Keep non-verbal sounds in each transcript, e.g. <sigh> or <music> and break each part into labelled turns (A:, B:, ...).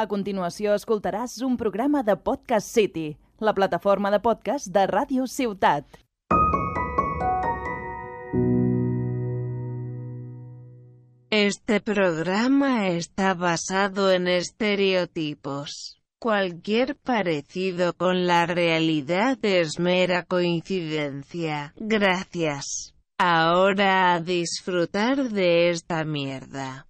A: A continuació escoltaràs un programa de Podcast City, la plataforma de podcast de Ràdio Ciutat.
B: Este programa está basado en estereotipos. Cualquier parecido con la realidad es mera coincidencia. Gracias. Ahora a disfrutar de esta mierda.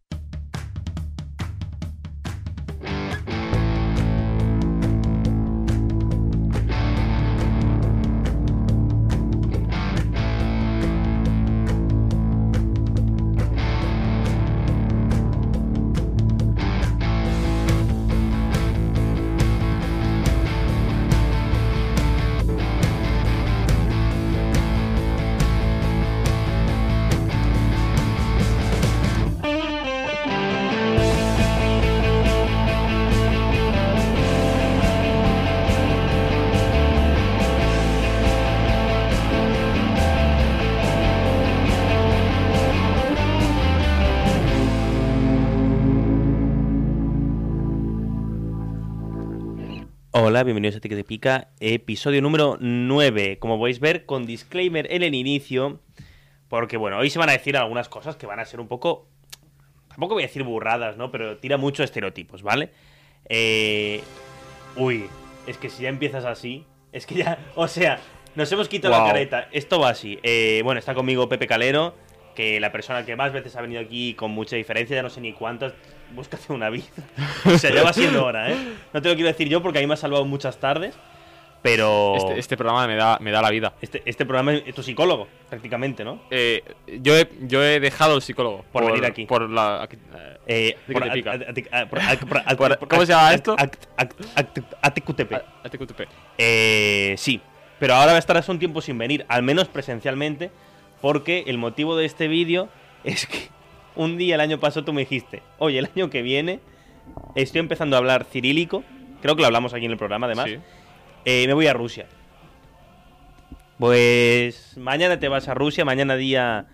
C: Hola, bienvenidos a Tique de Pica, episodio número 9. Como podéis ver, con disclaimer en el inicio, porque bueno, hoy se van a decir algunas cosas que van a ser un poco. Tampoco voy a decir burradas, ¿no? Pero tira mucho estereotipos, ¿vale? Eh, Uy, es que si ya empiezas así, es que ya. <laughs> O sea, nos hemos quitado la
D: Wow.
C: careta. Esto va así. Eh, bueno, está conmigo Pepe Calero, que la persona que más veces ha venido aquí con mucha diferencia, ya no sé ni cuántas. Búscate una vida. O sea, ya va siendo hora, ¿eh? No te lo quiero decir yo porque a mí me ha salvado muchas tardes, pero.
D: Este, este programa me da, me da la vida.
C: Este, este programa es tu psicólogo, prácticamente, ¿no?
D: Eh, yo, he, yo he dejado el psicólogo
C: Por venir aquí.
D: Por la, aquí- eh,
C: Eh,
D: ¿De qué
C: por-
D: te pica?
C: a- a- a- por- a- por- a-
D: Por-
C: por-
D: ¿cómo
C: a-
D: se llama
C: a-
D: esto?
C: a- a- a- ATQTP.
D: a- a TQTP.
C: Eh, sí, pero ahora estarás un tiempo sin venir, al menos presencialmente, porque el motivo de este vídeo es que un día el año pasado tú me dijiste, oye, el año que viene estoy empezando a hablar cirílico, creo que lo hablamos aquí en el programa además,
D: Sí.
C: eh, me voy a Rusia. Pues mañana te vas a Rusia, mañana día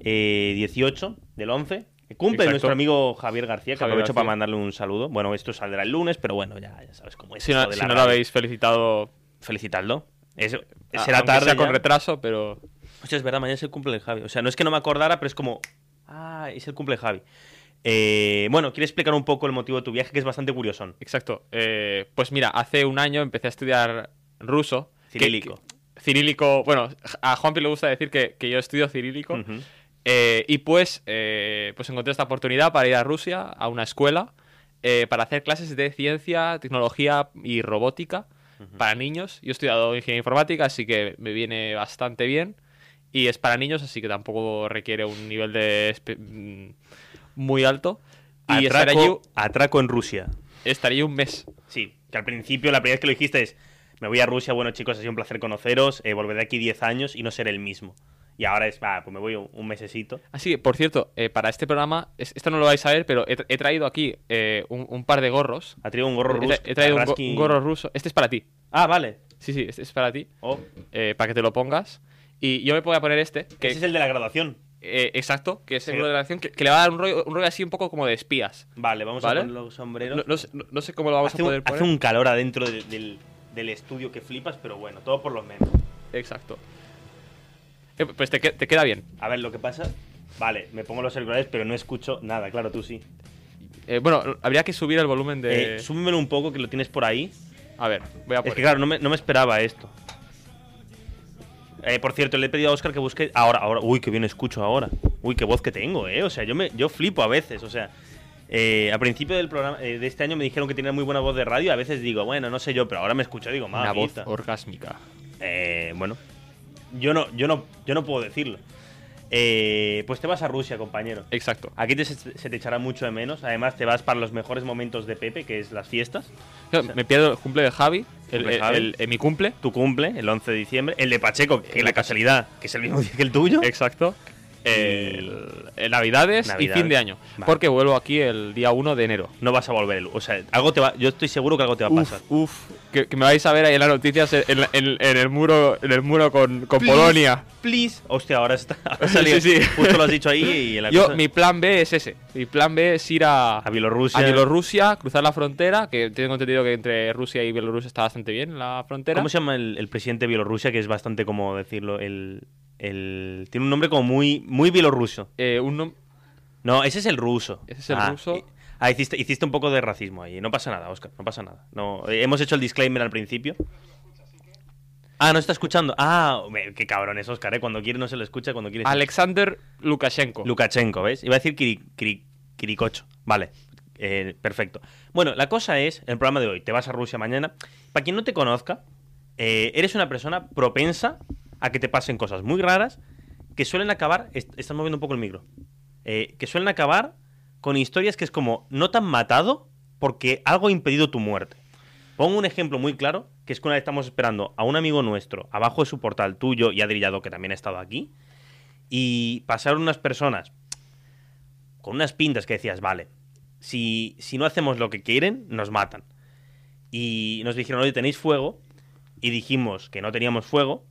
C: eh, 18 del 11. que Cumple
D: Exacto.
C: nuestro amigo Javier García, que
D: Javier
C: aprovecho
D: García.
C: para mandarle un saludo. Bueno, esto saldrá el lunes, pero bueno, ya, ya sabes cómo es.
D: Si
C: esto
D: no,
C: de
D: si
C: la
D: no lo
C: radio.
D: habéis felicitado,
C: Felicitadlo. Es-
D: a-
C: será
D: aunque
C: tarde.
D: sea con
C: ya.
D: retraso, pero
C: Hostia, es verdad, mañana es el cumple de Javi. O sea, no es que no me acordara, pero es como. Ah, es el cumple de Javi. Eh, bueno, ¿quieres explicar un poco el motivo de tu viaje? Que es bastante curioso.
D: exacto. Eh, pues mira, hace un año empecé a estudiar ruso. que-
C: Cirílico.
D: que- cirílico. Bueno, a Juanpi le gusta decir que, que yo estudio cirílico.
C: Ujú.
D: Eh, y pues, eh, pues encontré esta oportunidad para ir a Rusia, a una escuela, eh, para hacer clases de ciencia, tecnología y robótica para niños. Yo he estudiado ingeniería informática, así que me viene bastante bien. Y es para niños, así que tampoco requiere un nivel de espe- mm, muy alto. Y estaré allí,
C: Atraco, atraco en Rusia.
D: estaré allí un mes.
C: Sí, que al principio, la primera vez que lo dijiste es, me voy a Rusia, bueno chicos, ha sido un placer conoceros, eh, volveré aquí 10 años y no seré el mismo. Y ahora es, va, pues me voy un, un mesecito.
D: Así que, por cierto, eh, para este programa, es- esto no lo vais a ver, pero he, tra- he traído aquí eh, un, un par de gorros.
C: Ha traído un gorro
D: He tra-
C: ruso.
D: he, traído un, go-
C: Rasky-
D: un gorro ruso. Este es para ti.
C: Ah, vale.
D: Sí, sí, este es para ti.
C: Oh,
D: eh, para que te lo pongas. Y yo me voy a poner este, que
C: Ese es el de la graduación.
D: eh, exacto, que es el
C: Sí.
D: rollo de la acción, que, que le va a dar un rollo, un rollo así un poco como de espías.
C: Vale, vamos
D: Vale.
C: a poner los sombreros.
D: No, no sé, no- no sé cómo lo vamos
C: hace,
D: a
C: un,
D: poder
C: hace
D: poner.
C: un calor adentro de- del, del estudio que flipas, pero bueno, todo por los memes.
D: Exacto. Eh, pues te, que- te queda bien.
C: A ver, lo que pasa... Vale, me pongo los auriculares, pero no escucho nada, claro, tú sí.
D: Eh, bueno, habría que subir el volumen de.
C: Eh, súbemelo un poco, que lo tienes por ahí.
D: a ver, voy a
C: Es
D: poner.
C: que claro, no me, no me esperaba esto. Eh, por cierto, le he pedido a Oscar que busque. Ahora, ahora. Uy, qué bien escucho ahora. Uy, qué voz que tengo, eh. O sea, yo me, yo flipo a veces. O sea, eh, a principio del programa eh, de este año me dijeron que tenía muy buena voz de radio. A veces digo, bueno, no sé yo, pero ahora me escucho y digo,
D: Una voz
C: mamita.
D: orgásmica.
C: Eh, bueno, yo no, yo no, yo no puedo decirlo. Eh, pues te vas a Rusia, compañero.
D: Exacto.
C: Aquí te- se te echará mucho de menos. Además, te vas para los mejores momentos de Pepe, que es las fiestas.
D: Yo me pierdo el cumple de Javi, el,
C: Cumple
D: el-
C: Javi.
D: el- el- mi cumple.
C: tu cumple, el 11 de diciembre. El de Pacheco, que la casualidad, que es el mismo <laughs> día que el tuyo.
D: Exacto. El- el Navidades, y
C: Navidades.
D: fin de año.
C: Vale.
D: Porque vuelvo aquí el día 1 de enero.
C: No vas a volver. el- O sea, algo te va, yo estoy seguro que algo te va a
D: Uf,
C: pasar.
D: Uf, que, que me vais a ver ahí en las noticias en, la- en- en el muro, en el muro con, con
C: Please,
D: Polonia.
C: Please. Hostia, ahora está.
D: <laughs>
C: ha salido.
D: Sí, sí.
C: Justo lo has dicho ahí y la
D: <laughs> Yo,
C: cosa-
D: mi plan B es ese. Mi plan B es ir a,
C: A Bielorrusia.
D: a Bielorrusia, cruzar la frontera, que tengo entendido que entre Rusia y Bielorrusia está bastante bien la frontera.
C: ¿Cómo se llama el, el presidente de Bielorrusia? Que es bastante como decirlo. El, el- Tiene un nombre como muy, muy bielorruso.
D: Eh, un nom-
C: No, ese es el ruso.
D: Ese es el
C: Ah,
D: ruso.
C: y- Ah, hiciste, hiciste un poco de racismo ahí. No pasa nada, Oscar. No pasa nada. No, eh, hemos hecho el disclaimer al principio. Ah, no está escuchando. Ah, me- qué cabrón es Oscar, ¿eh? Cuando quiere no se lo escucha, cuando quiere. sí.
D: Alexander Lukashenko.
C: Lukashenko, ¿ves? Iba a decir Kiri- Kiri- Kirikocho. Vale, eh, perfecto. Bueno, la cosa es, el programa de hoy, te vas a Rusia mañana. Para quien no te conozca, eh, eres una persona propensa a que te pasen cosas muy raras que suelen acabar, est- estás moviendo un poco el micro, eh, que suelen acabar con historias que es como, no te han matado porque algo ha impedido tu muerte. Pongo un ejemplo muy claro, que es que una vez estamos esperando a un amigo nuestro, abajo de su portal tuyo y Adrillado, que también ha estado aquí, y pasaron unas personas con unas pintas que decías, vale, si, si no hacemos lo que quieren, nos matan. Y nos dijeron, oye, tenéis fuego. Y dijimos que no teníamos fuego.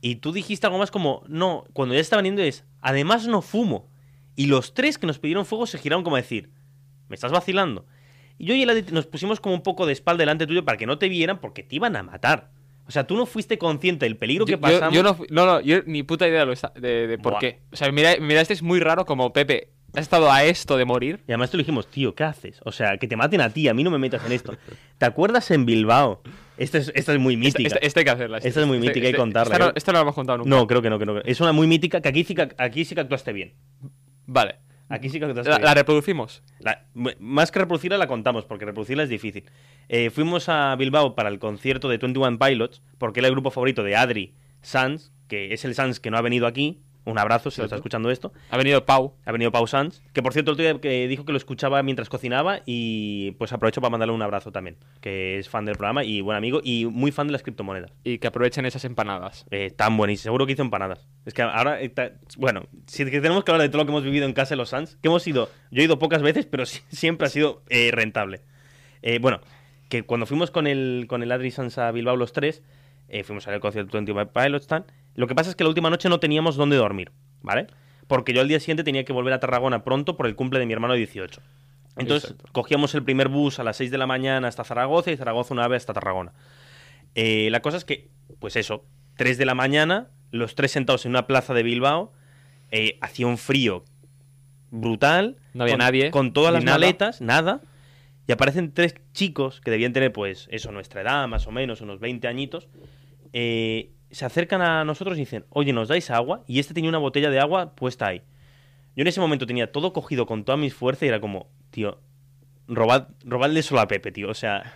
C: Y tú dijiste algo más como, no, cuando ya estaban yendo es, además no fumo. Y los tres que nos pidieron fuego se giraron como a decir, me estás vacilando. Y yo y el Adri nos pusimos como un poco de espalda delante tuyo para que no te vieran porque te iban a matar. O sea, tú no fuiste consciente del peligro
D: Yo-
C: que
D: yo,
C: pasamos.
D: yo no, fui- no, no, yo ni puta idea de, lo esta- de- de por
C: Buah.
D: qué. O sea, mira, mira, este es muy raro como Pepe. Has estado a esto de morir.
C: Y además te lo dijimos, tío, ¿qué haces? O sea, que te maten a ti, a mí no me metas en esto. ¿Te acuerdas en Bilbao? Esta es, esta es muy
D: Esta,
C: mítica.
D: esta- esta Este, hay que hacerla. este,
C: Esta es muy mítica, hay que contarla,
D: Esta no,
C: ¿eh?
D: esta no la hemos contado nunca.
C: No, creo que no, que no. Es una muy mítica que aquí sí que, aquí sí que actuaste bien.
D: Vale.
C: Aquí sí que actuaste
D: La,
C: bien.
D: la reproducimos.
C: La- m- más que reproducirla la contamos, porque reproducirla es difícil. Eh, fuimos a Bilbao para el concierto de 21 Pilots, porque era el grupo favorito de Adri Sanz, que es el Sanz que no ha venido aquí. Un abrazo si lo está
D: Exacto.
C: escuchando esto.
D: Ha venido Pau.
C: Ha venido Pau Sanz, que por cierto el otro día que dijo que lo escuchaba mientras cocinaba y pues aprovecho para mandarle un abrazo también, que es fan del programa y buen amigo y muy fan de las criptomonedas.
D: Y que aprovechen esas empanadas.
C: Eh, tan buenísimo, seguro que hizo empanadas. Es que ahora, eh, ta- bueno, si es que tenemos que hablar de todo lo que hemos vivido en casa de los Sanz, que hemos ido, yo he ido pocas veces, pero <laughs> sí- siempre ha sido eh, rentable. Eh, bueno, que cuando fuimos con el, con el Adri Sanz a Bilbao los tres, eh, fuimos al concierto 21 Pilots, tan. Lo que pasa es que la última noche no teníamos dónde dormir, ¿vale? Porque yo al día siguiente tenía que volver a Tarragona pronto por el cumple de mi hermano de 18. Entonces
D: Exacto.
C: cogíamos el primer bus a las 6 de la mañana hasta Zaragoza y Zaragoza una ave hasta Tarragona. Eh, la cosa es que, pues eso, 3 de la mañana, los tres sentados en una plaza de Bilbao, eh, hacía un frío brutal.
D: No había
C: con-
D: nadie,
C: Con todas
D: ni
C: las
D: nada.
C: maletas, nada. Y aparecen tres chicos que debían tener, pues, eso, nuestra edad, más o menos, unos 20 añitos. eh, se acercan a nosotros y dicen, oye, ¿nos dais agua? Y este tenía una botella de agua puesta ahí. Yo en ese momento tenía todo cogido con todas mis fuerzas y era como, tío, robad, robadle solo a Pepe, tío. O sea,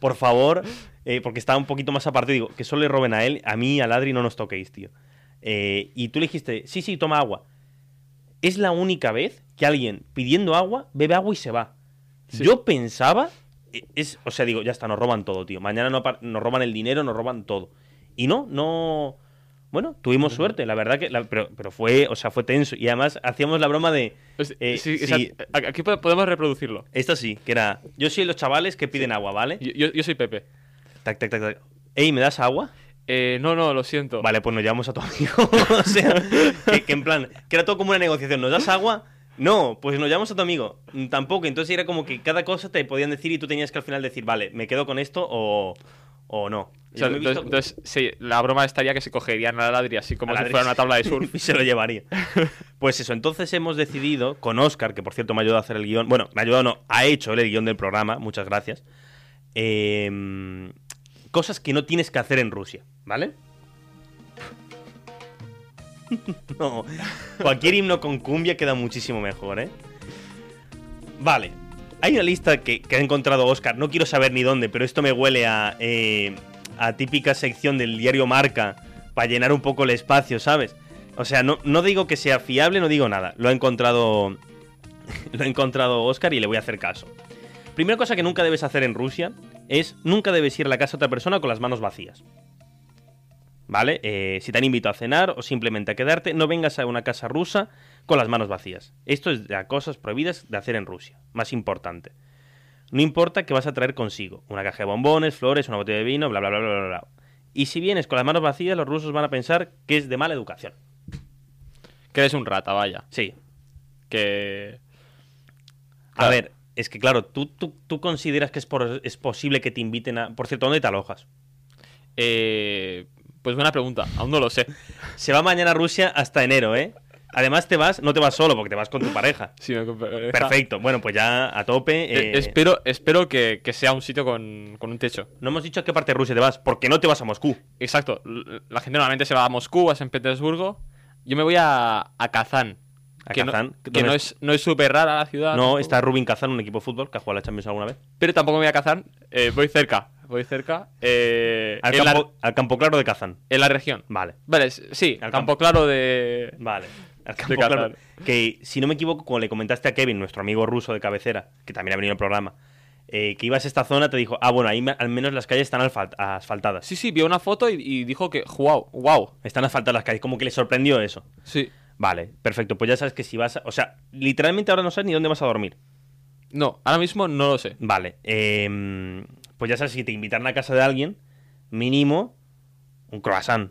C: por favor, eh, porque estaba un poquito más aparte, digo, que solo le roben a él, a mí, a Ladri no nos toquéis, tío. Eh, y tú le dijiste, sí, sí, toma agua. Es la única vez que alguien pidiendo agua bebe agua y se va.
D: Sí.
C: Yo pensaba, eh, es, o sea, digo, ya está, nos roban todo, tío. Mañana no apar- nos roban el dinero, nos roban todo. Y no, no. Bueno, tuvimos suerte, la verdad que. la- pero, pero fue, o sea, fue tenso. Y además hacíamos la broma de.
D: Es-
C: Eh,
D: Pues, sí,
C: sí.
D: exacto. A- Aquí po- podemos reproducirlo.
C: Esta sí, que era. Yo soy los chavales que piden agua, ¿vale?
D: Yo, yo- yo soy Pepe.
C: Tac, tac, tac, tac. Ey, ¿me das agua?
D: Eh, no, no, lo siento.
C: Vale, pues nos llevamos a tu amigo. <laughs> o sea, que, que en plan, que era todo como una negociación. ¿Nos das agua? No, pues nos llevamos a tu amigo. Mm, Tampoco. Entonces era como que cada cosa te podían decir y tú tenías que al final decir, vale, me quedo con esto o, o no.
D: O sea,
C: Yo me he
D: entonces,
C: visto-
D: entonces, sí, la broma estaría que se cogerían a Ladri así como
C: A
D: si
C: Ladri.
D: fuera una tabla de
C: <laughs>
D: surf.
C: y se lo llevaría. Pues eso, entonces hemos decidido, con Oscar, que por cierto me ha ayudado a hacer el guión, bueno, me ha ayudado, no, ha hecho él el guión del programa, muchas gracias, eh, cosas que no tienes que hacer en Rusia, ¿vale? <laughs> no, cualquier himno con cumbia queda muchísimo mejor, ¿eh? Vale, hay una lista que, que ha encontrado Oscar, no quiero saber ni dónde, pero esto me huele a, eh, a típica sección del diario Marca para llenar un poco el espacio, ¿sabes? O sea, no, no digo que sea fiable, no digo nada. Lo ha encontrado. <laughs> Lo ha encontrado Oscar y le voy a hacer caso. Primera cosa que nunca debes hacer en Rusia es nunca debes ir a la casa de otra persona con las manos vacías. ¿Vale? Eh, si te han invitado a cenar o simplemente a quedarte, no vengas a una casa rusa con las manos vacías. Esto es de las cosas prohibidas de hacer en Rusia. Más importante. No importa que vas a traer consigo. Una caja de bombones, flores, una botella de vino, bla, bla, bla, bla, bla. bla. Y si vienes con las manos vacías, los rusos van a pensar que es de mala educación.
D: Que eres un rata, vaya.
C: Sí.
D: Que.
C: A
D: Claro.
C: ver, es que claro, tú, tú, tú consideras que es, por- es posible que te inviten a... Por cierto, ¿dónde te alojas?
D: eh, pues buena pregunta, aún no lo sé. <laughs>
C: Se va mañana a Rusia hasta enero, ¿eh? Además te vas, no te vas solo, porque te vas con tu pareja.
D: Si me comp-
C: Perfecto. Bueno, pues ya a tope.
D: Eh,
C: eh,
D: espero espero que, que sea un sitio con, con un techo.
C: No hemos dicho a qué parte de Rusia te vas, porque no te vas a Moscú.
D: Exacto. l- La gente normalmente se va a Moscú, a San Petersburgo. Yo me voy a, a Kazán.
C: A
D: que
C: Kazán,
D: No, que
C: ¿dónde
D: no
C: es?
D: es no es súper rara la ciudad.
C: No,
D: tampoco.
C: está Rubin Kazán, un equipo de fútbol que ha jugado la Champions alguna vez.
D: Pero tampoco me voy a Kazán. eh, voy cerca. Voy cerca. eh,
C: Al
D: en, la-
C: campo, al campo claro de Kazán.
D: en la región.
C: Vale,
D: Vale, s- sí,
C: Al
D: al campo claro de.
C: vale. Al campo
D: <laughs> De
C: claro.
D: Kazán.
C: Que si no me equivoco, cuando le comentaste a Kevin, nuestro amigo ruso de cabecera, que también ha venido al programa, eh, que ibas a esta zona, te dijo, ah, bueno, ahí me- al menos las calles están alfal- asfaltadas.
D: Sí, sí, vio una foto y, y dijo que. ¡Wow! ¡Wow!
C: Están asfaltadas las calles, como que le sorprendió eso.
D: Sí.
C: Vale, perfecto. Pues ya sabes que si vas a- O sea, literalmente ahora no sabes ni dónde vas a dormir.
D: No, ahora mismo no lo sé.
C: Vale. em, pues ya sabes, si te invitaran a casa de alguien, mínimo un croissant.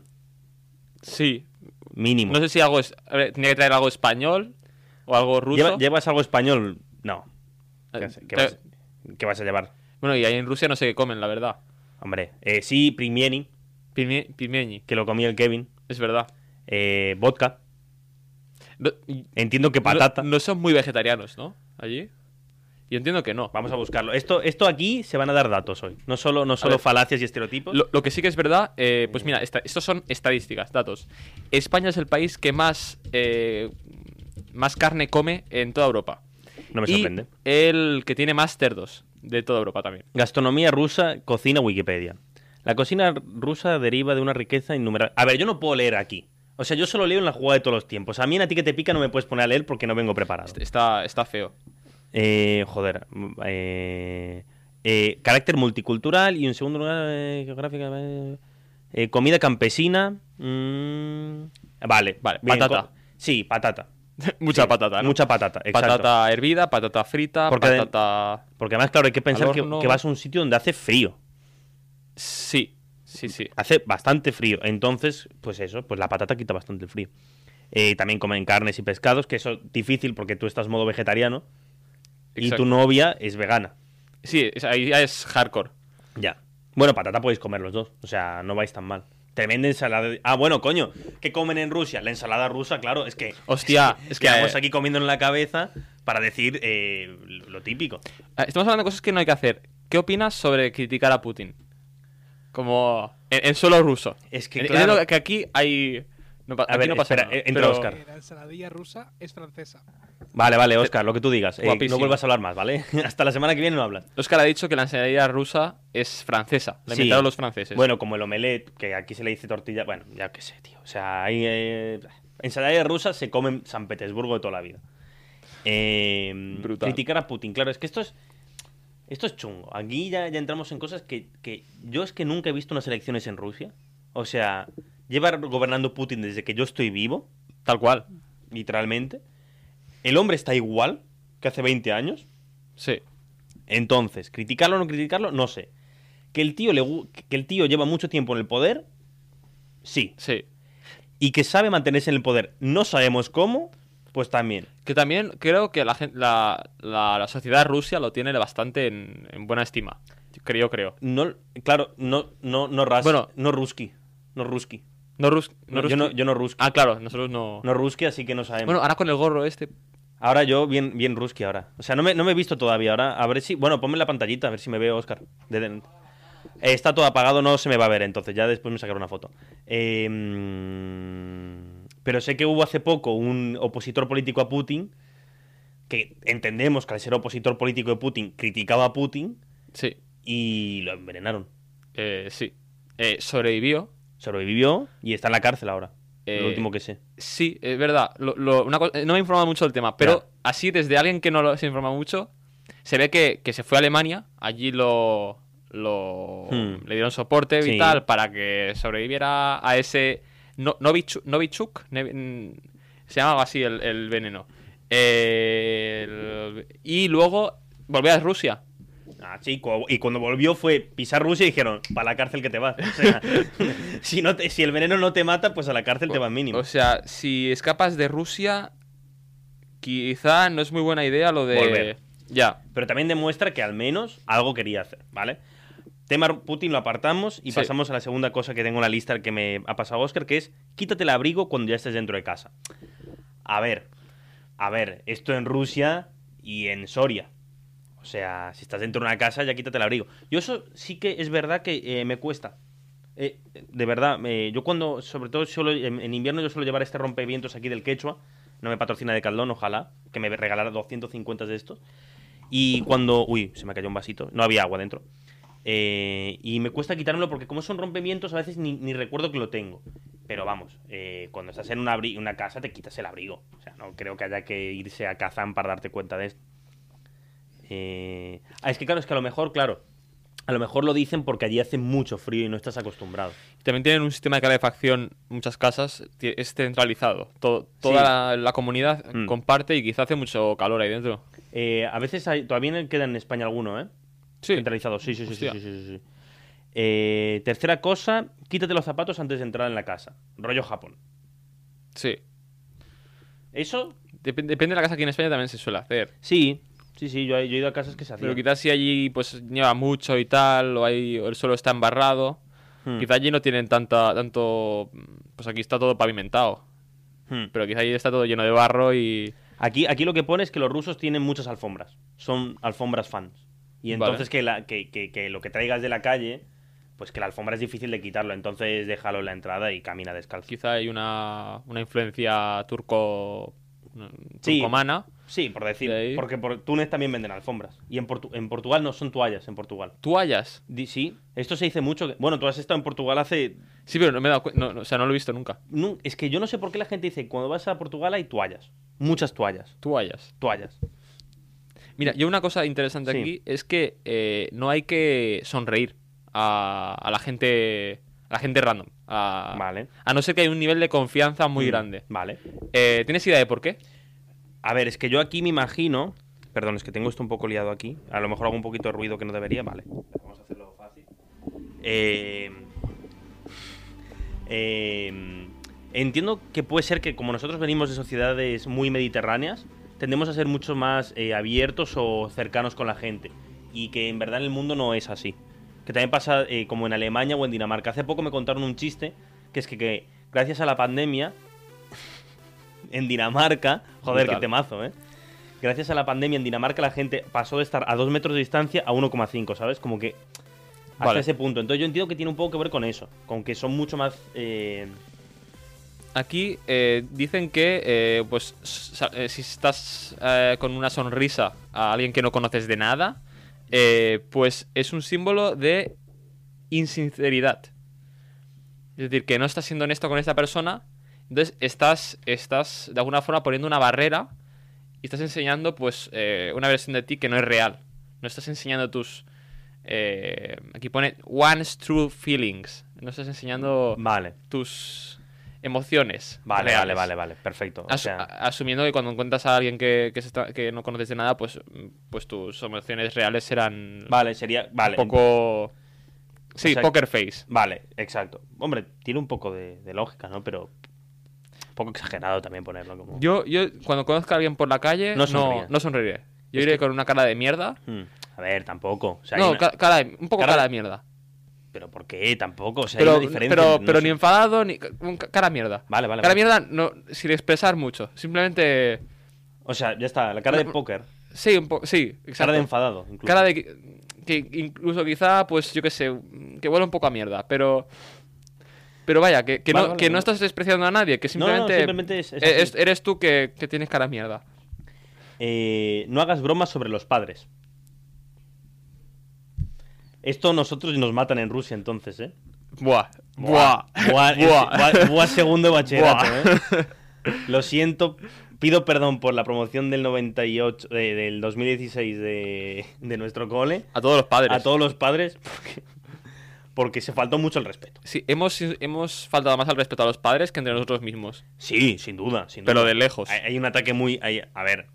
D: Sí.
C: Mínimo.
D: No sé si algo. es- a ver, tenía que traer algo español o algo ruso.
C: Lleva- ¿Llevas algo español? No.
D: Eh,
C: ¿Qué, qué
D: te-
C: vas, qué vas a llevar?
D: Bueno, y ahí en Rusia no sé qué comen, la verdad.
C: Hombre, eh, sí, primieni,
D: Pimie- Pimieñi,
C: que lo comía el Kevin.
D: es verdad.
C: eh, vodka.
D: No- y-
C: Entiendo que patata.
D: No, no son muy vegetarianos, ¿no? Allí. Yo entiendo que no.
C: Vamos a buscarlo. Esto, esto aquí se van a dar datos hoy. No solo, no solo
D: ver.
C: falacias y estereotipos.
D: Lo, lo que sí que es verdad, eh, pues mira, esta- estos son estadísticas, datos. España es el país que más, eh, más carne come en toda Europa.
C: no me
D: Y
C: sorprende.
D: el que tiene más cerdos de toda Europa también.
C: Gastronomía rusa, cocina Wikipedia. La cocina rusa deriva de una riqueza innumerable. A ver, yo no puedo leer aquí. O sea, yo solo leo en la jugada de todos los tiempos. A mí en a ti que te pica no me puedes poner a leer porque no vengo preparado.
D: Este, Está, está feo. <laughs>
C: Eh, joder. mm, eh, eh, carácter multicultural y en segundo lugar, eh, geográfica. eh, eh, comida campesina. mm, vale,
D: Vale,
C: bien,
D: patata.
C: co- Sí, patata.
D: Mucha
C: Sí,
D: patata, ¿no?
C: Mucha patata, exacto.
D: Patata hervida, patata frita,
C: Porque de-
D: patata...
C: Porque además, claro, hay que pensar que,
D: horno.
C: que vas a un sitio donde hace frío.
D: Sí, sí, sí.
C: hace bastante frío. Entonces, pues eso, pues la patata quita bastante el frío. Eh, también comen carnes y pescados, que eso es difícil porque tú estás modo vegetariano y
D: Exacto.
C: tu novia es vegana.
D: Sí, es- ahí ya es hardcore.
C: Ya. Bueno, patata podéis comer los dos, o sea, no vais tan mal. Tremenda ensalada. de- Ah, bueno, coño, ¿qué comen en Rusia? La ensalada rusa, claro, es que.
D: Hostia,
C: es
D: es
C: que
D: que,
C: estamos
D: eh,
C: aquí comiendo en la cabeza para decir eh, lo típico.
D: Ah, Estamos hablando de cosas que no hay que hacer. ¿Qué opinas sobre criticar a Putin? Como en, en suelo ruso.
C: Es que,
D: En- en
C: claro.
D: lo que aquí hay. No, pa-
C: A
D: aquí
C: ver,
D: no pasa
C: espera,
D: nada,
C: eh, entra
D: pero-
C: Óscar.
E: La ensaladilla rusa es francesa.
C: Vale, vale, Oscar, lo que tú digas. Eh, no
D: Guapísimo.
C: vuelvas a hablar más, ¿vale? <laughs> Hasta la semana que viene no hablas.
D: Óscar ha dicho que la ensalada rusa es francesa. La
C: Sí.
D: inventaron los franceses.
C: Bueno, como el omelette, que aquí se le dice tortilla. Bueno, ya que sé, tío. O sea, hay. Eh, ensaladillas rusas se comen en San Petersburgo de toda la vida. Eh,
D: Brutal.
C: Criticar a Putin. Claro, es que esto es. Esto es chungo. Aquí ya, ya entramos en cosas que, que. Yo es que nunca he visto unas elecciones en Rusia. O sea, lleva gobernando Putin desde que yo estoy vivo,
D: tal cual.
C: literalmente. El hombre está igual que hace 20 años.
D: Sí.
C: Entonces, criticarlo o no criticarlo, no sé. Que el tío le gu- que el tío lleva mucho tiempo en el poder, sí.
D: Sí.
C: Y que sabe mantenerse en el poder, no sabemos cómo, pues también.
D: Que también creo que la, gen- la, la- la sociedad rusa lo tiene bastante en, en buena estima. Creo, creo.
C: No, claro, no, no, no ras-
D: Bueno.
C: no ruski, no ruski.
D: No, rus,
C: No,
D: no
C: yo
D: rus-
C: no, yo no ruski,
D: Ah, claro, nosotros no.
C: no em. ruski, así que no sabemos.
D: Bueno, ahora con el gorro este.
C: ahora yo bien, bien ruski ahora. O sea, no me, no me he visto todavía ahora. A ver si, bueno, ponme la pantallita a ver si me veo, Oscar. De- de- Eh, está todo apagado, no se me va a ver, entonces ya después me sacaré una foto. Eh, mm, pero sé que hubo hace poco un opositor político a Putin, que entendemos que al ser opositor político de Putin criticaba a Putin
D: Sí.
C: y lo envenenaron.
D: Eh, sí. Eh, sobrevivió.
C: Sobrevivió y está en la cárcel ahora.
D: Eh,
C: lo último que sé.
D: Sí, es verdad. Lo- lo- una co- eh, no me he informado mucho del tema, pero
C: Ya.
D: así, desde alguien que no lo- se informa mucho, se ve que, que se fue a Alemania, allí lo, lo-
C: Hmm.
D: le dieron soporte
C: Sí.
D: vital para que sobreviviera a ese no, Novichu- Novichuk, ne- mm, se llamaba así el, el veneno. Eh, el- y luego volvió a Rusia,
C: sea, Ah, sí, cu- y cuando volvió fue pisar Rusia y dijeron, para la cárcel que te vas. <laughs> O sea, si, no te- si el veneno no te mata, pues a la cárcel te vas mínimo.
D: O sea, si escapas de Rusia, quizá no es muy buena idea lo de.
C: Volver.
D: Ya.
C: Pero también demuestra que al menos algo quería hacer, ¿vale? Tema Ru- Putin lo apartamos y
D: Sí.
C: pasamos a la segunda cosa que tengo en la lista que me ha pasado Oscar, que es quítate el abrigo cuando ya estés dentro de casa. A ver, a ver, esto en Rusia y en Soria. O sea, si estás dentro de una casa, ya quítate el abrigo. Yo eso sí que es verdad que eh, me cuesta. Eh, de verdad, eh, yo cuando, sobre todo solo en, en invierno, yo suelo llevar este rompevientos aquí del Quechua. No me patrocina de Caldón, ojalá, que me regalara 250 de estos. Y cuando. Uy, se me cayó un vasito. No había agua dentro. Eh, y me cuesta quitármelo porque, como son rompimientos, a veces ni, ni recuerdo que lo tengo. Pero vamos, eh, cuando estás en una, abri- una casa te quitas el abrigo. O sea, no creo que haya que irse a Kazán para darte cuenta de esto. Eh, ah, es que claro, es que a lo mejor, claro. A lo mejor lo dicen porque allí hace mucho frío y no estás acostumbrado.
D: También tienen un sistema de calefacción, muchas casas, ti- es centralizado. To- toda
C: Sí.
D: la, la comunidad
C: Mm.
D: comparte y quizá hace mucho calor ahí dentro.
C: Eh, a veces hay- todavía queda en España alguno, ¿eh?
D: Sí.
C: Centralizado, sí, sí, sí, sí,
D: Hostia.
C: sí, sí, sí. Eh, tercera cosa, quítate los zapatos antes de entrar en la casa. Rollo Japón.
D: Sí.
C: Eso,
D: Dep- depende de la casa aquí en España también se suele hacer.
C: sí. Sí, sí, yo, he- yo he ido a casas que se hacían.
D: Pero quizás si allí pues nieva mucho y tal, o, ahí, o el suelo está embarrado,
C: Hmm.
D: quizás allí no tienen tanta, tanto... Pues aquí está todo pavimentado,
C: Hmm.
D: pero quizá allí está todo lleno de barro y...
C: Aquí, aquí lo que pone es que los rusos tienen muchas alfombras. Son alfombras fans. Y
D: Vale.
C: entonces que, la- que- que- que lo que traigas de la calle, pues que la alfombra es difícil de quitarlo. Entonces déjalo en la entrada y camina descalzo.
D: Quizá hay una, una influencia turco...
C: Sí.
D: turcomana.
C: Sí, por decir.
D: De ahí.
C: Porque por Túnez también venden alfombras. Y en, Portu- en Portugal no son toallas, en Portugal.
D: Toallas.
C: Di- sí, esto se dice mucho. que- bueno, tú has estado en Portugal hace...
D: Sí, pero no me he dado cuenta, o sea, no lo he visto nunca.
C: nu- es que yo no sé por qué la gente dice, cuando vas a Portugal hay toallas. Muchas toallas.
D: Toallas.
C: Toallas.
D: Mira, yo una cosa interesante
C: Sí.
D: aquí es que eh, no hay que sonreír a, a la gente a la gente random. A,
C: Vale.
D: a no ser que hay un nivel de confianza muy
C: Mm,
D: grande.
C: Vale.
D: Eh, ¿Tienes idea de por qué?
C: A ver, es que yo aquí me imagino. Perdón, es que tengo esto un poco liado aquí. A lo mejor hago un poquito de ruido que no debería, vale. Vamos a hacerlo fácil. Eh, eh, entiendo que puede ser que como nosotros venimos de sociedades muy mediterráneas, tendemos a ser mucho más eh, abiertos o cercanos con la gente. Y que en verdad en el mundo no es así. Que también pasa eh, como en Alemania o en Dinamarca. Hace poco me contaron un chiste, que es que, que gracias a la pandemia, <laughs> en Dinamarca, joder,
D: Brutal.
C: qué temazo, ¿eh? Gracias a la pandemia en Dinamarca la gente pasó de estar a 2 metros de distancia a 1,5, ¿sabes? Como que hasta
D: Vale.
C: ese punto. Entonces yo entiendo que tiene un poco que ver con eso, con que son mucho más... eh,
D: Aquí eh, dicen que eh, pues sa- eh, si estás eh, con una sonrisa a alguien que no conoces de nada, eh, pues es un símbolo de insinceridad. Es decir, que no estás siendo honesto con esta persona, entonces estás, estás de alguna forma poniendo una barrera y estás enseñando pues eh, una versión de ti que no es real. No estás enseñando tus... eh, aquí pone one's true feelings. No estás enseñando
C: Vale,
D: tus emociones.
C: vale, vale,
D: reales.
C: vale, vale, perfecto. O
D: Asu-
C: sea,
D: a- asumiendo que cuando encuentras a alguien que, que, se está- que no conoces de nada, pues, mm, pues tus emociones reales serán
C: vale, sería... Vale,
D: un poco... Sí,
C: sea-
D: poker face.
C: vale, exacto. Hombre, tiene un poco de, de lógica, ¿no? Pero un poco exagerado también ponerlo como...
D: Yo, yo cuando conozca a alguien por la calle,
C: No
D: no,
C: sonríe.
D: no, sonreiré. Yo iré con una cara de mierda.
C: Hmm, A ver, tampoco. O sea, hay
D: no,
C: una-
D: ca- cara de- un poco
C: Cara-
D: cara, de mierda.
C: Pero ¿por qué? Tampoco. O sea, hay
D: pero
C: una diferencia.
D: pero,
C: no
D: pero
C: sé.
D: ni enfadado, ni ca- un ca- cara de mierda.
C: Vale, vale,
D: Cara de
C: vale.
D: mierda no, sin expresar mucho. Simplemente...
C: O sea, ya está, la cara de
D: No,
C: póker.
D: Sí, un poco... Sí, exacto.
C: Cara de enfadado, incluso.
D: Cara de que, que incluso quizá, pues yo qué sé, que huele un poco a mierda, pero. Pero vaya, que, que
C: Vale,
D: no,
C: vale,
D: que
C: vale.
D: no estás despreciando a nadie, que
C: No, no,
D: simplemente.
C: no, simplemente es- es
D: e-
C: así.
D: es- eres tú que, que tienes cara a mierda.
C: Eh, no hagas bromas sobre los padres. Esto nosotros nos matan en Rusia entonces, ¿eh?
D: Buah, buah,
C: Buah, ese-
D: buah.
C: buah- buah segundo de bachillerato,
D: Buah.
C: ¿eh? Lo siento, pido perdón por la promoción del 98, de- del 2016 de, de nuestro cole
D: <laughs> A todos los padres.
C: a todos los padres porque, porque se faltó mucho el respeto.
D: Sí, hemos, hemos faltado más al respeto a los padres que entre nosotros mismos.
C: Sí, sin duda, sin
D: Pero
C: duda.
D: de lejos.
C: Hay, hay un ataque muy. hay- a ver.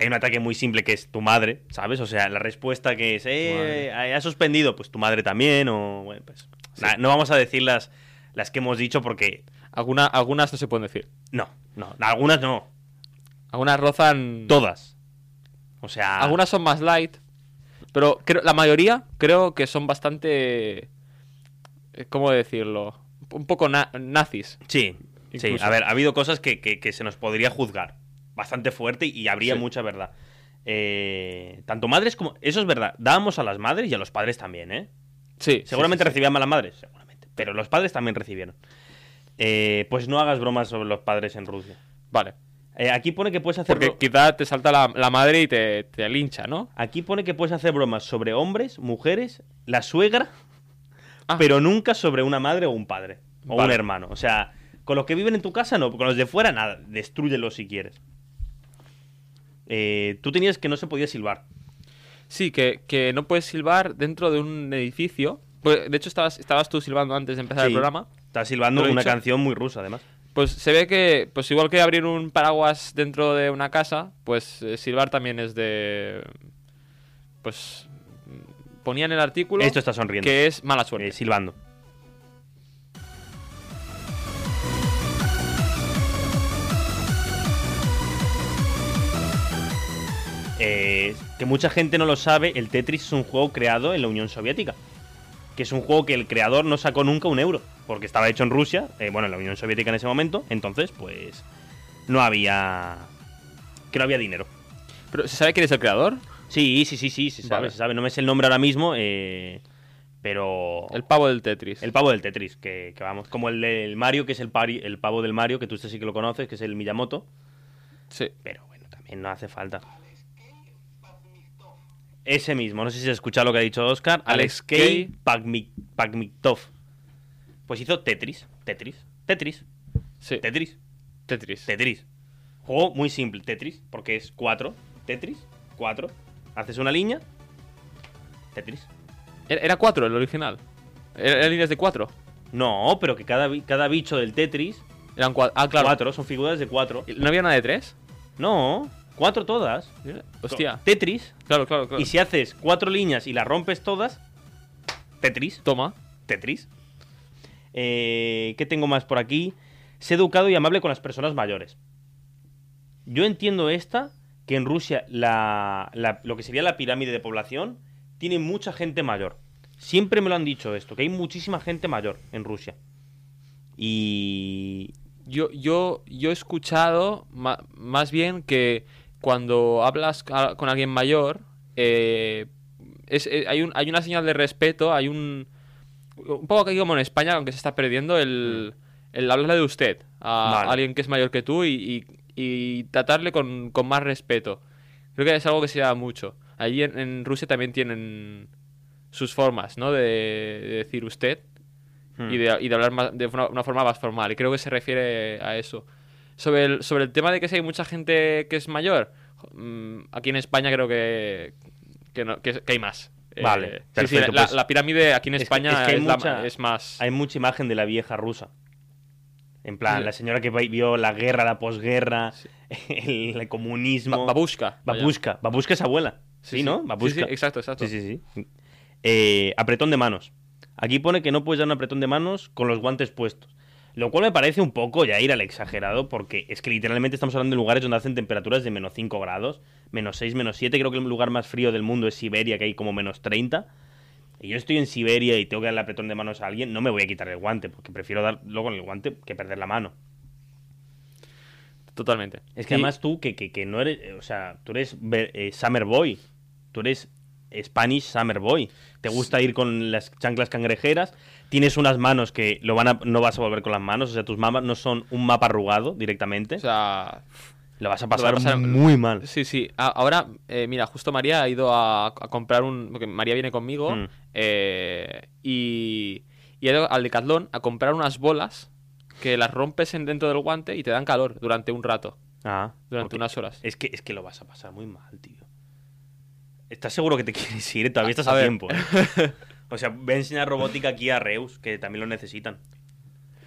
C: Hay un ataque muy simple que es tu madre, ¿sabes? O sea, la respuesta que es, eh, ha suspendido, pues tu madre también, o bueno, pues. na- no vamos a decir las, las que hemos dicho porque.
D: Alguna- algunas no se pueden decir.
C: No, no. Algunas no.
D: Algunas rozan.
C: Todas. O sea.
D: Algunas son más light. Pero creo, la mayoría creo que son bastante. eh, ¿Cómo decirlo? Un poco na- nazis.
C: Sí, sí.
D: Incluso.
C: A ver, ha habido cosas que, que- que se nos podría juzgar bastante fuerte y habría
D: Sí.
C: mucha verdad. Eh, tanto madres como. Eso es verdad. Dábamos a las madres y a los padres también, ¿eh?
D: Sí.
C: Seguramente
D: sí, sí, sí.
C: recibían malas madres, seguramente. Pero los padres también recibieron. Eh, pues no hagas bromas sobre los padres en Rusia.
D: Vale.
C: Eh, aquí pone que puedes hacer.
D: Porque
C: bro-
D: quizá te salta la, la madre y te, te lincha, ¿no?
C: Aquí pone que puedes hacer bromas sobre hombres, mujeres, la suegra,
D: Ah.
C: pero nunca sobre una madre o un padre o un
D: Vale.
C: hermano. O sea, con los que viven en tu casa no, con los de fuera nada, destruyelos si quieres. Eh, tú tenías que no se podía silbar.
D: Sí, que, que no puedes silbar dentro de un edificio. Pues, de hecho, estabas, estabas tú silbando antes de empezar
C: Sí.
D: el programa.
C: Estás silbando
D: ¿Lo he
C: una
D: dicho?
C: canción muy rusa, además.
D: Pues se ve que, pues igual que abrir un paraguas dentro de una casa, pues eh, silbar también es de... Pues mm, ponía en el artículo
C: Esto está sonriendo.
D: que es mala
C: Eh,
D: suerte.
C: silbando. Eh, que mucha gente no lo sabe, el Tetris es un juego creado en la Unión Soviética. Que es un juego que el creador no sacó nunca un euro, porque estaba hecho en Rusia, eh, bueno, en la Unión Soviética en ese momento, entonces pues no había... que no había dinero.
D: Pero ¿se sabe quién es el creador?
C: Sí, sí, sí, sí, se sabe,
D: Vale.
C: se sabe, no me sé el nombre ahora mismo, eh, pero...
D: El pavo del Tetris.
C: El pavo del Tetris, que, que vamos, como el del Mario, que es el, pari- el pavo del Mario, que tú este sí que lo conoces, que es el Miyamoto,
D: Sí.
C: pero bueno, también no hace falta. Ese mismo, no sé si has escuchado lo que ha dicho Oscar, Alex
D: Alex
C: K.
D: Kay.
C: Pakmi- Pakmitov. Pues hizo Tetris, Tetris, Tetris,
D: sí.
C: Tetris,
D: Tetris.
C: Tetris. Juego muy simple, Tetris, porque es 4, Tetris, 4. Haces una línea, Tetris.
D: Era- Er, Era cuatro el original. Era- Eran líneas de cuatro.
C: No, pero que cada, bi- cada bicho del Tetris,
D: Eran cua- Ah, claro.
C: 4, son figuras de 4.
D: ¿No había una de tres?
C: No, cuatro todas.
D: Hostia.
C: Tetris.
D: Claro, claro, claro.
C: Y si haces cuatro líneas y las rompes todas, Tetris,
D: Toma.
C: Tetris. Eh, ¿Qué tengo más por aquí? Sé educado y amable con las personas mayores. Yo entiendo esta, que en Rusia la- la- lo que sería la pirámide de población tiene mucha gente mayor. Siempre me lo han dicho esto, que hay muchísima gente mayor en Rusia. Y...
D: Yo, yo, yo he escuchado ma- más bien que cuando hablas ca- con alguien mayor, eh, es, eh, hay, un- hay una señal de respeto, hay un... Un poco aquí como en España, aunque se está perdiendo, el, el hablarle de usted a
C: Vale.
D: alguien que es mayor que tú y, y- y tratarle con, con más respeto. Creo que es algo que se da mucho. Allí en, en Rusia también tienen sus formas, ¿no? De, de decir usted
C: Mm.
D: y de, y de hablar más- de una, una forma más formal. Y creo que se refiere a eso. Sobre el, sobre el tema de que si hay mucha gente que es mayor, mm, aquí en España creo que, que, no- que- que hay más. Eh,
C: Vale,
D: sí, sí,
C: perfecto,
D: la,
C: pues.
D: la pirámide aquí en
C: Es que-
D: España
C: es
D: es,
C: que hay
D: la-
C: mucha-
D: es más...
C: hay mucha imagen de la vieja rusa. En plan,
D: Sí.
C: la señora que vi- vio la guerra, la posguerra,
D: Sí.
C: <laughs> el,
D: ba-
C: comunismo.
D: babushka. vaya.
C: Babushka. Babushka es abuela. Sí, ¿no? Babushka.
D: Sí, sí, exacto, exacto.
C: Sí, sí, sí. Eh, apretón de manos. Aquí pone que no puedes dar un apretón de manos con los guantes puestos. Lo cual me parece un poco ya ir al exagerado, porque es que literalmente estamos hablando de lugares donde hacen temperaturas de menos 5 grados, menos 6, menos 7. Creo que el lugar más frío del mundo es Siberia, que hay como menos 30. Y yo estoy en Siberia y tengo que darle apretón de manos a alguien, no me voy a quitar el guante, porque prefiero darlo con el guante que perder la mano.
D: Totalmente.
C: Es que
D: Y-
C: además tú, que, que- que no eres, eh, o sea, tú eres ve- eh, Summer Boy, tú eres Spanish Summer Boy. Te gusta ir con las chanclas cangrejeras, tienes unas manos que lo van a- no vas a volver con las manos, o sea, tus mamas no son un mapa arrugado directamente,
D: O sea,
C: lo vas a
D: va a
C: pasar,
D: pasar-
C: muy mal.
D: Sí, sí. A- Ahora, eh, mira, justo María ha ido a, a comprar un. Porque María viene conmigo.
C: Mm.
D: eh, y, y ha ido al Decathlon a comprar unas bolas que las rompes en dentro del guante y te dan calor durante un rato,
C: Ah,
D: durante
C: porque
D: unas horas.
C: es que, es que lo vas a pasar muy mal, tío. ¿Estás seguro que te <laughs> quieres ir? Todavía estás a,
D: a ver. <laughs>
C: tiempo. ¿eh? o sea, voy a enseñar robótica aquí a Reus, que también lo necesitan.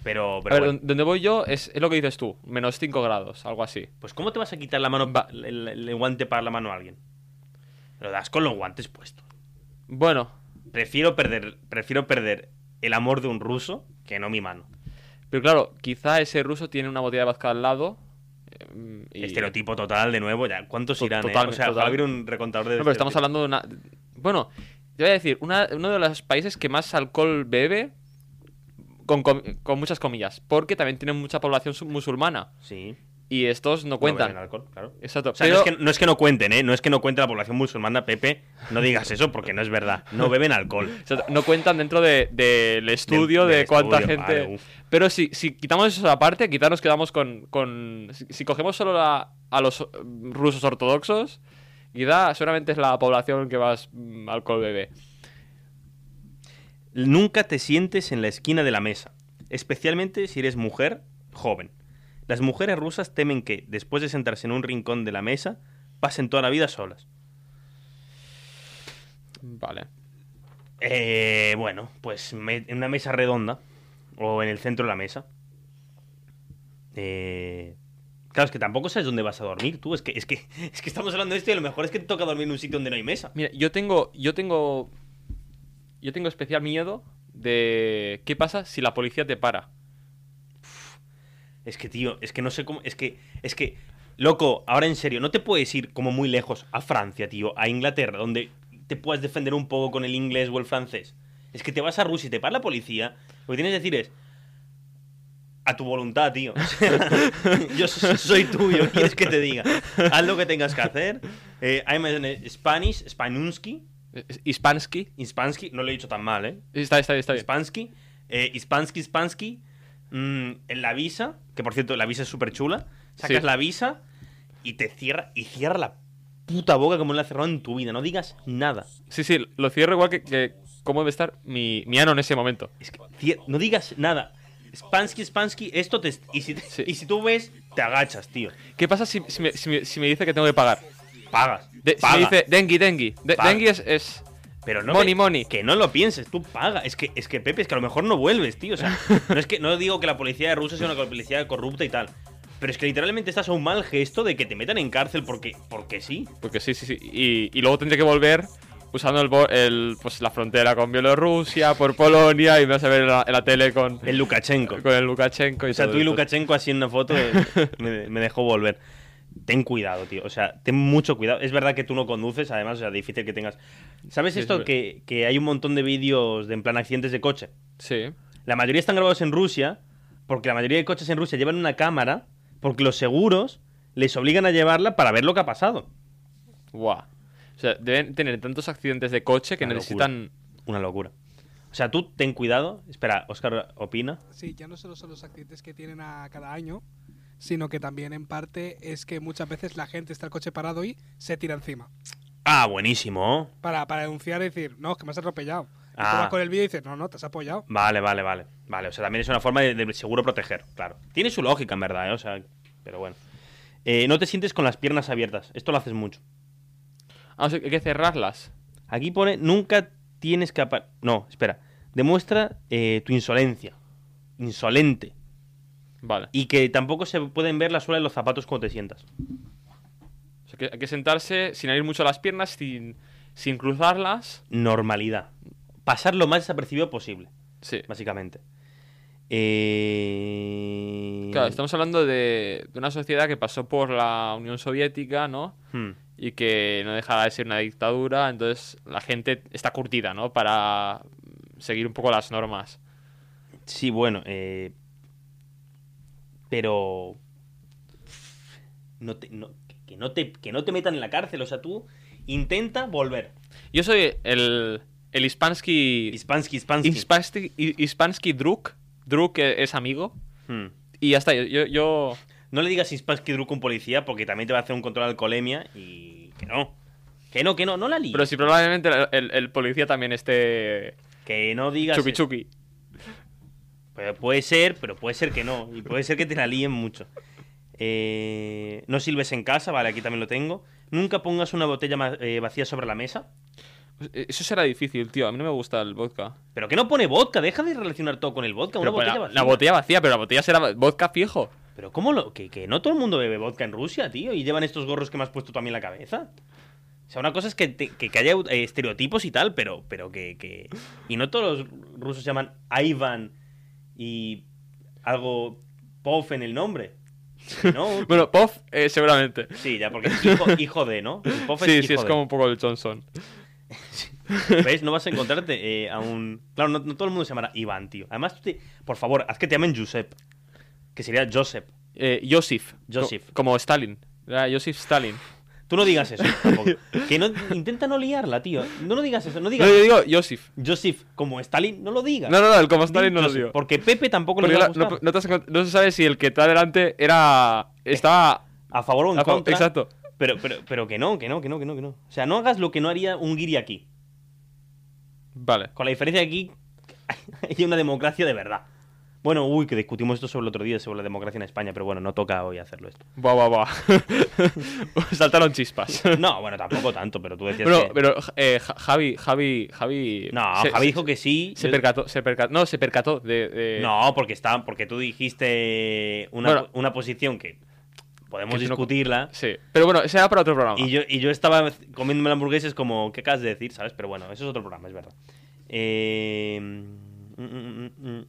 C: Pero,
D: A
C: pero
D: ver,
C: bueno.
D: don- donde voy yo es, es lo que dices tú, menos 5 grados, algo así.
C: Pues ¿cómo te vas a quitar la mano
D: Va-
C: el, el- el guante para la mano a alguien? Lo das con los guantes puestos.
D: Bueno,
C: Prefiero perder, prefiero perder el amor de un ruso que no mi mano.
D: pero claro, quizá ese ruso tiene una botella de vodka al lado. em, y-
C: Estereotipo total, de nuevo, ya. ¿Cuántos
D: To-
C: irán? eh?
D: totalmente,
C: O sea, ojalá
D: total.
C: hubiera un recontador de
D: No, pero estamos
C: estereotipos.
D: hablando de una. Bueno, yo voy a decir, una- uno de los países que más alcohol bebe, con, comi- con muchas comillas, porque también tienen mucha población su- musulmana.
C: Sí.
D: Y estos no cuentan.
C: beben alcohol, claro.
D: Exacto.
C: O sea,
D: pero-
C: no, es que, no es que no cuenten, ¿eh? No es que no cuente la población musulmana, Pepe. No digas eso porque no es verdad. No beben alcohol.
D: O sea, no cuentan dentro de- del estudio
C: Del- del
D: de cuánta
C: estudio,
D: gente.
C: vale, uf.
D: Pero si, si quitamos esa parte, quizá nos quedamos con. con- si, si cogemos solo la- a los eh, rusos ortodoxos, quizá seguramente es la población que más mm, alcohol bebe.
C: Nunca te sientes en la esquina de la mesa, especialmente si eres mujer joven. Las mujeres rusas temen que, después de sentarse en un rincón de la mesa, pasen toda la vida solas.
D: Vale.
C: Eh, bueno, pues me- en una mesa redonda o en el centro de la mesa. Eh, claro, es que tampoco sabes dónde vas a dormir tú. Es que, <laughs> es, que, es que estamos hablando de esto y a lo mejor es que te toca dormir en un sitio donde no hay mesa.
D: Mira, yo tengo. Yo tengo. Yo tengo especial miedo de. ¿Qué pasa si la policía te para?
C: Es que, tío, es que no sé cómo. Es que, es que, loco, ahora en serio, no te puedes ir como muy lejos a Francia, tío, a Inglaterra, donde te puedas defender un poco con el inglés o el francés. Es que te vas a Rusia y te para la policía. Lo que tienes que decir es. A tu voluntad, tío. <laughs> O sea, yo so- soy tuyo, ¿qué quieres que te diga? Haz lo que tengas que hacer. Eh, I'm an Spanish, Spanunsky,
D: ¿Es- ¿Hispansky?
C: Inspansky, no lo he dicho tan mal, ¿eh?
D: Está, está, está bien.
C: Spansky, eh, Spansky, Spansky, mm, en la visa, que por cierto, la visa es súper chula, sacas
D: Sí.
C: la visa y te cierra, y cierra la puta boca como la ha cerrado en tu vida, no digas nada.
D: Sí, sí, lo cierro igual que. que ¿Cómo debe estar mi, mi ano en ese momento?
C: Es que cier- no digas nada. Spansky, Spansky, esto te... Y si,
D: Sí.
C: y si tú ves, te agachas, tío.
D: ¿Qué pasa si, si me, si me- si me dice que tengo que pagar?
C: Pagas.
D: De- si
C: paga.
D: me dice Dengi, Dengi. De-
C: Paga.
D: Dengi es. es-
C: Pero no
D: Money,
C: que,
D: money.
C: que no lo pienses, tú paga. Es que, es que Pepe, es que a lo mejor no vuelves, tío. O
D: <laughs>
C: sea, no es que no digo que la policía de Rusia sea una policía corrupta y tal. Pero es que literalmente estás a un mal gesto de que te metan en cárcel porque, porque sí.
D: Porque sí, sí, sí. Y, y luego tendré que volver usando el, bo- el, pues, la frontera con Bielorrusia, por Polonia, y me vas a ver en la, en la tele con,
C: El Lukashenko.
D: con el Lukashenko. Y
C: O sea,
D: todo
C: tú y
D: esto.
C: Lukashenko así en una foto
D: <laughs>
C: eh, me, me dejó volver. Ten cuidado, tío. O sea, ten mucho cuidado. Es verdad que tú no conduces, además, o sea, difícil que tengas. ¿Sabes
D: Sí, es
C: esto?
D: verdad.
C: Que, que hay un montón de vídeos de en plan accidentes de coche.
D: Sí.
C: La mayoría están grabados en Rusia, porque la mayoría de coches en Rusia llevan una cámara, porque los seguros les obligan a llevarla para ver lo que ha pasado.
D: Guau. O sea, deben tener tantos accidentes de coche que
C: Una
D: necesitan.
C: Una locura. O sea, tú ten cuidado. Espera, Oscar opina.
E: Sí, ya no solo son los accidentes que tienen a cada año, sino que también en parte es que muchas veces la gente está el coche parado y se tira encima.
C: Ah, buenísimo.
E: Para, para denunciar y decir, no, es que me has atropellado. Y tú
C: Ah.
E: vas con el vídeo y dices, no, no, te has apoyado.
C: Vale, vale, vale. Vale, o sea, también es una forma de, de seguro proteger, claro. Tiene su lógica, en verdad, ¿eh? O sea, pero bueno. Eh, no te sientes con las piernas abiertas. Esto lo haces mucho.
D: Ah, o sea, hay que cerrarlas.
C: Aquí pone, nunca tienes que... apa- No, espera. Demuestra eh, tu insolencia. Insolente.
D: Vale.
C: Y que tampoco se pueden ver la suela de los zapatos cuando te sientas.
D: O sea, que hay que sentarse sin abrir mucho las piernas, sin, sin cruzarlas.
C: Normalidad. Pasar lo más desapercibido posible,
D: Sí.
C: básicamente. Eh...
D: Claro, estamos hablando de, de una sociedad que pasó por la Unión Soviética, ¿no?
C: Hmm.
D: y que no dejará de ser una dictadura, entonces la gente está curtida, ¿no? Para seguir un poco las normas.
C: Sí, bueno, eh, pero no te- no- que, no te, que no te metan en la cárcel, o sea, tú intenta volver.
D: Yo soy el, el Hispansky,
C: Hispansky, Hispansky.
D: Hispansky, Hispansky Druk, Druk eh, es amigo,
C: Hmm.
D: y ya está, yo, yo,
C: No le digas Hispansky Druk a un policía porque también te va a hacer un control de alcoholemia y que no. Que no, que no, no la líes.
D: pero si probablemente el, el- el policía también esté
C: Que no digas.
D: chupi chupi.
C: Pero Pues puede ser, pero puede ser que no. Y puede ser que te la líen mucho. Eh, no silbes en casa, vale, aquí también lo tengo. Nunca pongas una botella ma- eh, vacía sobre la mesa.
D: Pues, Eso será difícil, tío. A mí no me gusta el vodka.
C: Pero que no pone vodka, deja de relacionar todo con el vodka. Una
D: Pero pone
C: botella
D: la-
C: vacía.
D: la botella vacía, pero la botella será vodka fijo.
C: Pero ¿cómo lo.? Que, que no todo el mundo bebe vodka en Rusia, tío. Y llevan estos gorros que me has puesto también en la cabeza. O sea, una cosa es que, te- que, que haya eh, estereotipos y tal, pero, pero que, que- Y no todos los rusos se llaman Ivan y algo Pov en el nombre.
D: <laughs>
C: ¿No?
D: Bueno, Puff, eh, seguramente.
C: Sí, ya, porque es hijo, hijo de, ¿no? El Pov
D: Sí,
C: hijo
D: sí, es
C: de.
D: como un poco el Johnson.
C: ¿Ves? No vas a encontrarte eh, a un. Claro, no, no todo el mundo se llamará Iván, tío. Además, tú te- por favor, haz que te llamen Josep. Que sería Josep.
D: Eh, Joseph.
C: Joseph.
D: Co- como Stalin. Era Joseph Stalin.
C: Tú no digas eso
D: <laughs>
C: tampoco. Que no, intenta no liarla, tío. No, no digas eso. No
D: No,
C: digas
D: yo digo Joseph.
C: Joseph como Stalin. No lo digas.
D: No, no, no, el como
C: Di
D: Stalin no lo
C: Joseph,
D: digo.
C: Porque Pepe tampoco
D: Porque
C: le va a
D: la- no,
C: gustar.
D: no te has encont- no se sabe si el que está delante era.
C: Eh.
D: Estaba.
C: A favor o en
D: a fa-
C: contra.
D: Exacto.
C: Pero, pero, pero que no, que no, que no, que no, que no. O sea, no hagas lo que no haría un guiri aquí.
D: Vale.
C: Con la diferencia de aquí <laughs> hay una democracia de verdad. Bueno, uy, que discutimos esto sobre el otro día, sobre la democracia en España, pero bueno, no toca hoy hacerlo esto.
D: Buah, buah, buah. <laughs> Saltaron chispas.
C: <laughs> No, bueno, tampoco tanto, pero tú decías
D: Pero,
C: que...
D: pero eh, Ja- Javi, Javi, Javi.
C: No,
D: se-
C: Javi
D: se-
C: dijo que sí.
D: Se
C: Yo-
D: percató, se percató. No, se percató de. de-
C: No, porque está, porque tú dijiste una,
D: Bueno.
C: una posición que podemos
D: Que tú no-
C: discutirla.
D: Sí. Pero bueno, ese era para otro programa.
C: Y yo, y yo estaba comiéndome hamburguesas como, ¿qué acabas de decir? ¿Sabes? Pero bueno, eso es otro programa, es verdad. Eh, mm, mm, mm, mm.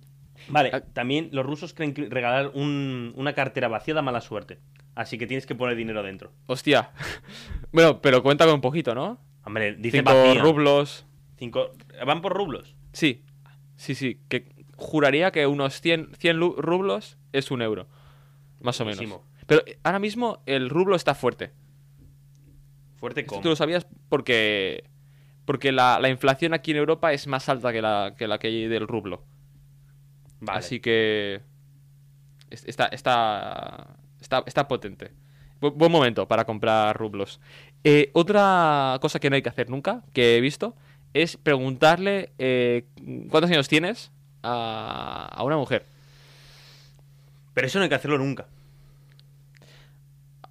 C: Vale,
D: Ah.
C: también los rusos creen que regalar un- una cartera vacía da mala suerte. Así que tienes que poner dinero dentro.
D: Hostia. Bueno, pero cuenta con un poquito, ¿no?
C: Hombre, dice
D: Cinco
C: vacía.
D: rublos.
C: Cinco- ¿Van por rublos?
D: Sí. Sí, sí. Que juraría que unos 100, 100 lu- rublos es un euro. Más o menos.
C: Buenísimo.
D: Pero eh, ahora mismo el rublo está fuerte.
C: Fuerte
D: Esto
C: como.
D: tú lo sabías porque. Porque la, la inflación aquí en Europa es más alta que la que, la que hay del rublo.
C: Vale.
D: Así que. es- Está, está, está, está potente. Bu- buen momento para comprar rublos. Eh, otra cosa que no hay que hacer nunca, que he visto, es preguntarle eh, cuántos años tienes a, a una mujer.
C: Pero eso no hay que hacerlo nunca.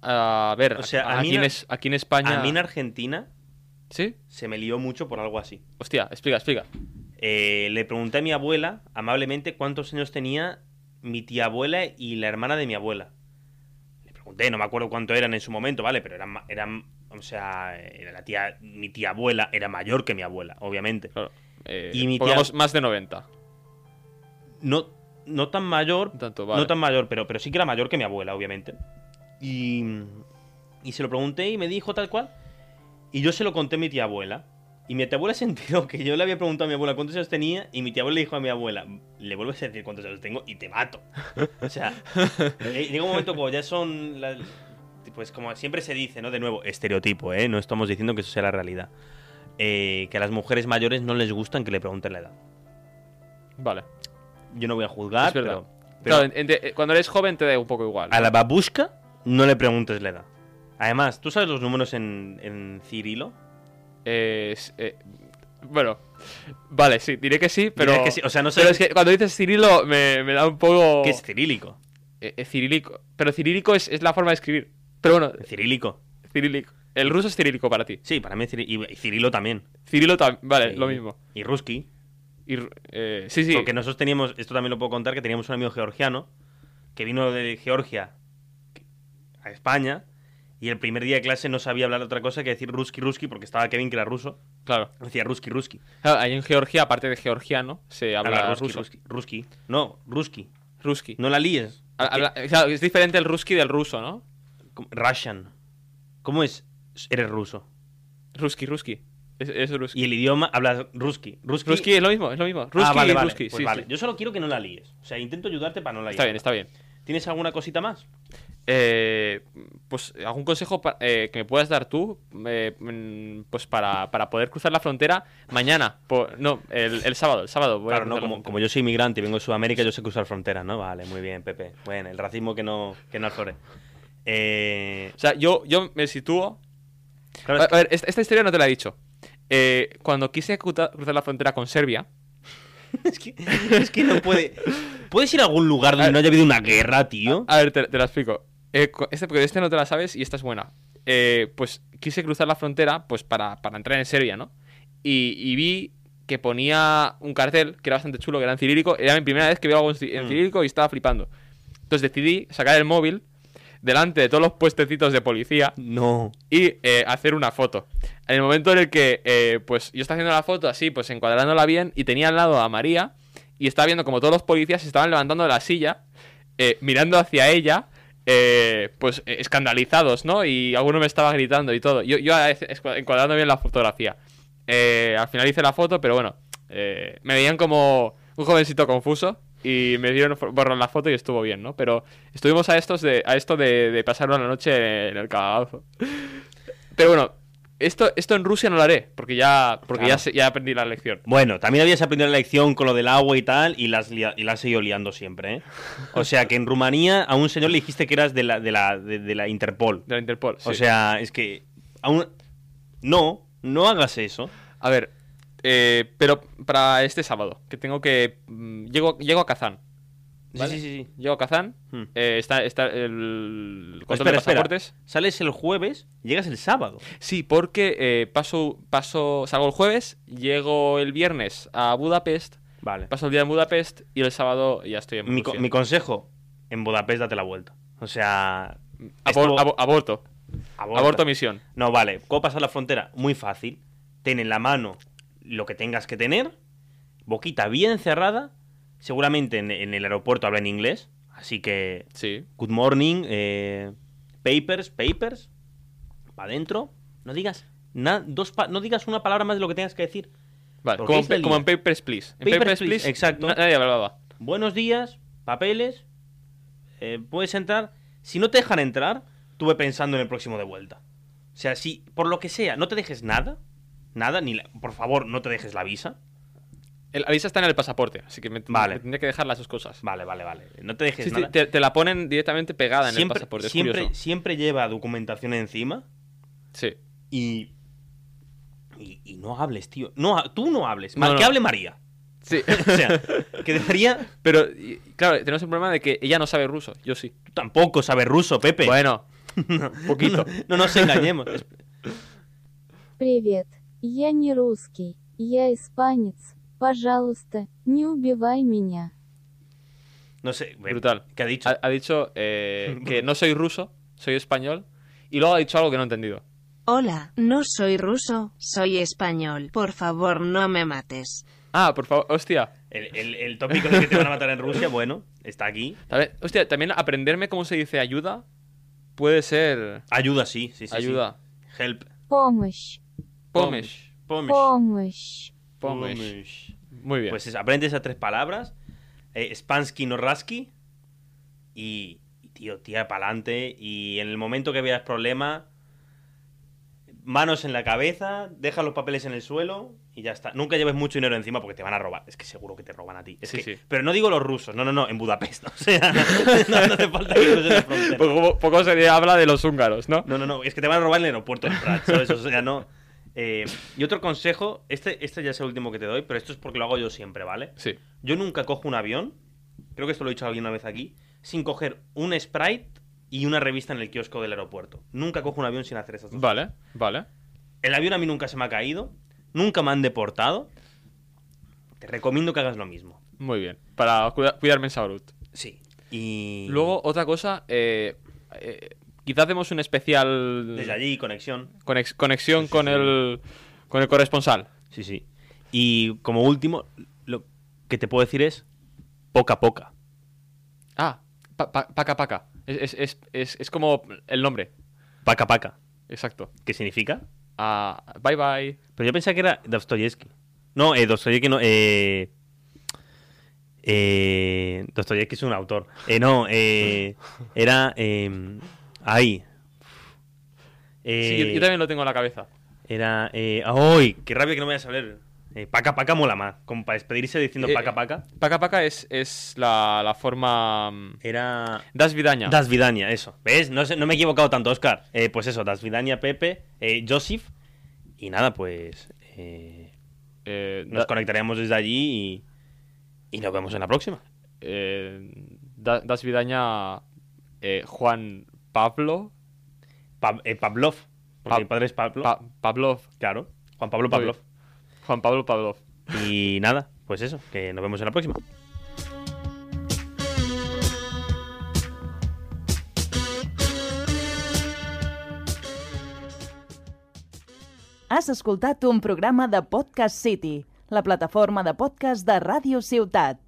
D: A ver,
C: O sea, a
D: a-
C: mí
D: aquí, en
C: na-
D: es- aquí en España.
C: A mí en Argentina
D: ¿Sí?
C: se me lió mucho por algo así.
D: Hostia, explica, explica.
C: Eh, le pregunté a mi abuela, amablemente, cuántos años tenía mi tía abuela y la hermana de mi abuela. Le pregunté, no me acuerdo cuánto eran en su momento, ¿vale? Pero eran, ma- eran o sea, era la tía, mi tía abuela era mayor que mi abuela, obviamente.
D: Claro. eh,
C: Y mi tía-
D: pongamos más de 90.
C: No, no tan mayor,
D: Tanto, vale.
C: no tan mayor, pero, pero sí que era mayor que mi abuela, obviamente. Y, y se lo pregunté y me dijo tal cual. Y yo se lo conté a mi tía abuela. Y mi tía abuela se enteró que yo le había preguntado a mi abuela cuántos años tenía. Y mi tía abuela le dijo a mi abuela: Le vuelves a decir cuántos años tengo y te mato. O
D: <laughs>
C: sea, eh, llega un momento como ya son. la- pues como siempre se dice, ¿no? De nuevo, estereotipo, ¿eh? No estamos diciendo que eso sea la realidad. Eh, que a las mujeres mayores no les gustan que le pregunten la edad.
D: Vale.
C: Yo no voy a juzgar,
D: Es verdad.
C: pero. pero-
D: Claro, en- en- cuando eres joven te da un poco igual.
C: A la babushka no le preguntes la edad. Además, ¿tú sabes los números en, en cirilo?
D: Eh, es- eh, bueno, vale, sí, diré que sí, pero.
C: Diré que sí, o sea, no sé-
D: Pero es que cuando dices Cirilo me, me da un poco.
C: Que es cirílico.
D: eh, eh, cirílico. Pero cirílico es, es la forma de escribir. Pero bueno,
C: Cirílico.
D: cirílico. El ruso es cirílico para ti.
C: Sí, para mí es cirílico. Y cirilo también.
D: Cirilo también. Vale,
C: Sí.
D: Eh, lo mismo.
C: Y ruski.
D: Y ru- eh, sí, sí.
C: Porque nosotros teníamos, esto también lo puedo contar, que teníamos un amigo georgiano que vino de Georgia a España y el primer día de clase no sabía hablar otra cosa que decir ruski, ruski, porque estaba Kevin que era ruso.
D: Claro.
C: Decía ruski, ruski.
D: Claro, ahí en Georgia, aparte de georgiano, se habla
C: Habla
D: ruso.
C: ruski, ruski. No, ruski.
D: Ruski.
C: No la líes.
D: Ha- habla- claro, es diferente el ruski del ruso, ¿no?
C: Como- Russian. ¿Cómo es? Eres ruso.
D: Ruski, ruski. Es, es ruski.
C: Y el idioma habla ruski. Ruski,
D: Ruski es lo mismo, es lo mismo. Ruski
C: ah, vale,
D: y
C: vale.
D: ruski,
C: Pues
D: sí,
C: vale.
D: sí.
C: Yo solo quiero que no la líes. O sea, intento ayudarte para no la líes.
D: Está bien, está bien.
C: ¿Tienes alguna cosita más?
D: Eh, pues algún consejo pa- eh, que me puedas dar tú, eh, mm, pues para, para poder cruzar la frontera mañana, po- no, el, el sábado, el sábado. voy a
C: claro, no,
D: cruzar la
C: como,
D: frontera.
C: como yo soy inmigrante y vengo de Sudamérica, yo sé cruzar fronteras, ¿no? Vale, muy bien, Pepe. Bueno, el racismo que no, que no aflore. Eh,
D: O sea, yo, yo me sitúo.
C: claro,
D: A,
C: es que-
D: a ver, esta, esta historia no te la he dicho. Eh, cuando quise cruta- cruzar la frontera con Serbia,
C: es, que, <laughs> es que no puede. ¿Puedes ir a algún lugar donde
D: A-
C: no haya habido una guerra, tío?
D: a ver, te, te la explico. Eh, cu- este, porque este no te la sabes y esta es buena. Eh, pues quise cruzar la frontera pues para, para entrar en Serbia, ¿no? y, y vi que ponía un cartel que era bastante chulo, que era en cirílico. Era mi primera vez que veo algo en ci- en
C: Mm.
D: cirílico y estaba flipando. Entonces decidí sacar el móvil delante de todos los puestecitos de policía
C: No.
D: y eh, hacer una foto. En el momento en el que eh, pues yo estaba haciendo la foto así, pues encuadrándola bien, y tenía al lado a María, y estaba viendo como todos los policías se estaban levantando de la silla, eh, mirando hacia ella, eh, pues eh, escandalizados, ¿no? Y alguno me estaba gritando y todo. Yo, yo eh, escua- encuadrando bien la fotografía. Eh, al final hice la foto, pero bueno, eh, me veían como un jovencito confuso. Y me dieron fo- borrar la foto y estuvo bien, ¿no? Pero estuvimos a estos de, a esto de, de pasar una noche en el cagazo. Pero bueno, esto, esto en Rusia no lo haré, porque ya, porque
C: Claro.
D: ya, sé- ya aprendí la lección.
C: Bueno, también habías aprendido la lección con lo del agua y tal, y las lia- y la has seguido liando siempre, ¿eh? O sea, que en Rumanía a un señor le dijiste que eras de la, de la, de, de la Interpol.
D: De la Interpol.
C: O
D: sí.
C: sea, es que aún... No, no hagas eso.
D: A ver, eh, pero para este sábado, que tengo que. mm, Llego, llego a Kazán. ¿vale?
C: Sí, sí, sí.
D: Llego a Kazán.
C: Hmm.
D: eh, está, está el control
C: Espera,
D: de
C: espera.
D: pasaportes.
C: Sales el jueves, llegas el sábado.
D: Sí, porque eh, paso, paso. Salgo el jueves, llego el viernes a Budapest,
C: Vale.
D: paso el día en Budapest y el sábado ya estoy en
C: Mi, co-
D: Rusia.
C: mi consejo, en Budapest date la vuelta. O sea...
D: Abor-
C: estuvo-
D: abo- aborto.
C: aborta.
D: Aborto misión.
C: No, vale. ¿Cómo pasar la frontera? Muy fácil. Ten en la mano lo que tengas que tener. Boquita bien cerrada. Seguramente en, en el aeropuerto hablan inglés. Así que.
D: Sí.
C: Good morning. eh, papers, papers. Para adentro. No digas. na- dos pa- no digas una palabra más de lo que tengas que decir.
D: Vale,
C: Porque
D: como,
C: es la
D: en- como en
C: liga.
D: Papers, Please. En
C: Papers,
D: Papers,
C: Please,
D: Please,
C: exacto.
D: na- Nadie hablaba.
C: Buenos días. Papeles. eh, puedes entrar. Si no te dejan entrar, tuve pensando en el próximo de vuelta. O sea, si por lo que sea, no te dejes nada. Nada, ni la- por favor, no te dejes la visa.
D: El, la visa está en el pasaporte, así que me,
C: Vale.
D: me tendría que dejar las dos cosas.
C: Vale, vale, vale. No te dejes
D: Sí, sí,
C: nada.
D: te, te la ponen directamente pegada en
C: siempre,
D: el pasaporte. Es
C: siempre,
D: curioso.
C: siempre lleva documentación encima
D: Sí.
C: y, y. y no hables, tío. No, ha- tú no hables.
D: No,
C: Ma-
D: no.
C: Que hable María.
D: Sí.
C: O sea, que de María
D: <laughs> Pero, y- claro, tenemos el problema de que ella no sabe ruso. Yo sí.
C: tú tampoco sabe ruso, Pepe.
D: Bueno,
C: poquito. <laughs> No, nos engañemos.
F: Привет. Я не русский. Я испанец. Pожалуйста, не убивай меня.
C: No sé.
D: Brutal.
C: ¿Qué ha dicho?
D: ha, ha dicho eh,
C: <laughs>
D: que no soy ruso, soy español. Y luego ha dicho algo que no he entendido.
B: Hola, no soy ruso, soy español. Por favor, no me mates.
D: Ah, por favor, hostia.
C: El, el- el tópico de que te van a matar en Rusia, bueno, está aquí.
D: También, hostia, también aprenderme cómo se dice ayuda puede ser
C: Ayuda, sí, sí, sí. sí.
D: ayuda.
C: Help.
F: Помощь.
D: Pomesh.
C: Pomish.
F: Помощь.
D: Pomesh. Muy bien.
C: Pues es- aprendes esas tres palabras. eh, Spansky no Rasky. Y, y, tío, tira para adelante. Y en el momento que veas problema, manos en la cabeza, deja los papeles en el suelo y ya está. Nunca lleves mucho dinero encima porque te van a robar. Es que seguro que te roban a ti. Es
D: Sí,
C: que-
D: sí.
C: Pero no digo los rusos, no, no, no, en Budapest. <laughs> O sea, no, no hace falta que cruces la frontera.
D: <laughs> poco, poco se habla de los húngaros, ¿no?
C: No, no, no, es que te van a robar en el aeropuerto de Prat, ¿sabes? O sea, no. Eh, y otro consejo, este, este ya es el último que te doy, pero esto es porque lo hago yo siempre, ¿vale?
D: Sí.
C: Yo nunca cojo un avión, creo que esto lo he dicho alguien una vez aquí, sin coger un sprite y una revista en el kiosco del aeropuerto. Nunca cojo un avión sin hacer esas dos.
D: Vale, vale.
C: El avión a mí nunca se me ha caído, nunca me han deportado. Te recomiendo que hagas lo mismo.
D: Muy bien. Para cuida- cuidarme en salud.
C: Sí. Y
D: Luego, otra cosa, eh, eh, quizás demos un especial
C: desde allí conexión.
D: conex- conexión
C: Sí, sí,
D: con,
C: sí.
D: El, con el corresponsal.
C: Sí, sí. Y como último, lo que te puedo decir es poca a poca.
D: Ah, pa- pa- paca paca. Es, es- es- es- es como el nombre,
C: Paca paca.
D: exacto.
C: ¿Qué significa?
D: Ah, bye bye.
C: Pero yo pensaba que era Dostoyevsky. No, eh, Dostoyevsky no. Eh, eh, Dostoyevsky es un autor. Eh, no,
D: <laughs>
C: eh, era. eh, ahí.
D: Sí,
C: Eh,
D: yo, yo también lo tengo en la cabeza.
C: Era. eh, ¡Ay! ¡Qué rabia que no me vayas a saber! Eh, paca paca mola más. Como para despedirse diciendo
D: Eh,
C: paca paca.
D: Paca paca es, es la, la forma... mm,
C: Era.
D: Das vidaña.
C: Das Vidania, eso. ¿Ves? No, sé- no me he equivocado tanto, Oscar. Eh, pues eso, Das Vidania, Pepe, eh, Joseph. Y nada, pues. eh,
D: Eh,
C: nos
D: da-
C: conectaremos desde allí y, y nos vemos en la próxima.
D: eh, da- das vidaña eh, Juan Pablo.
C: Pa- eh, Pavlov. Porque
D: Pa-
C: mi padre es Pablo.
D: Pa- Pavlov.
C: claro. Juan Pablo Pavlov.
D: Juan Pablo Pavlov.
C: Y nada, pues eso, que nos vemos en la próxima.
A: Has escoltat un programa de Podcast City, la plataforma de podcast de Ràdio Ciutat.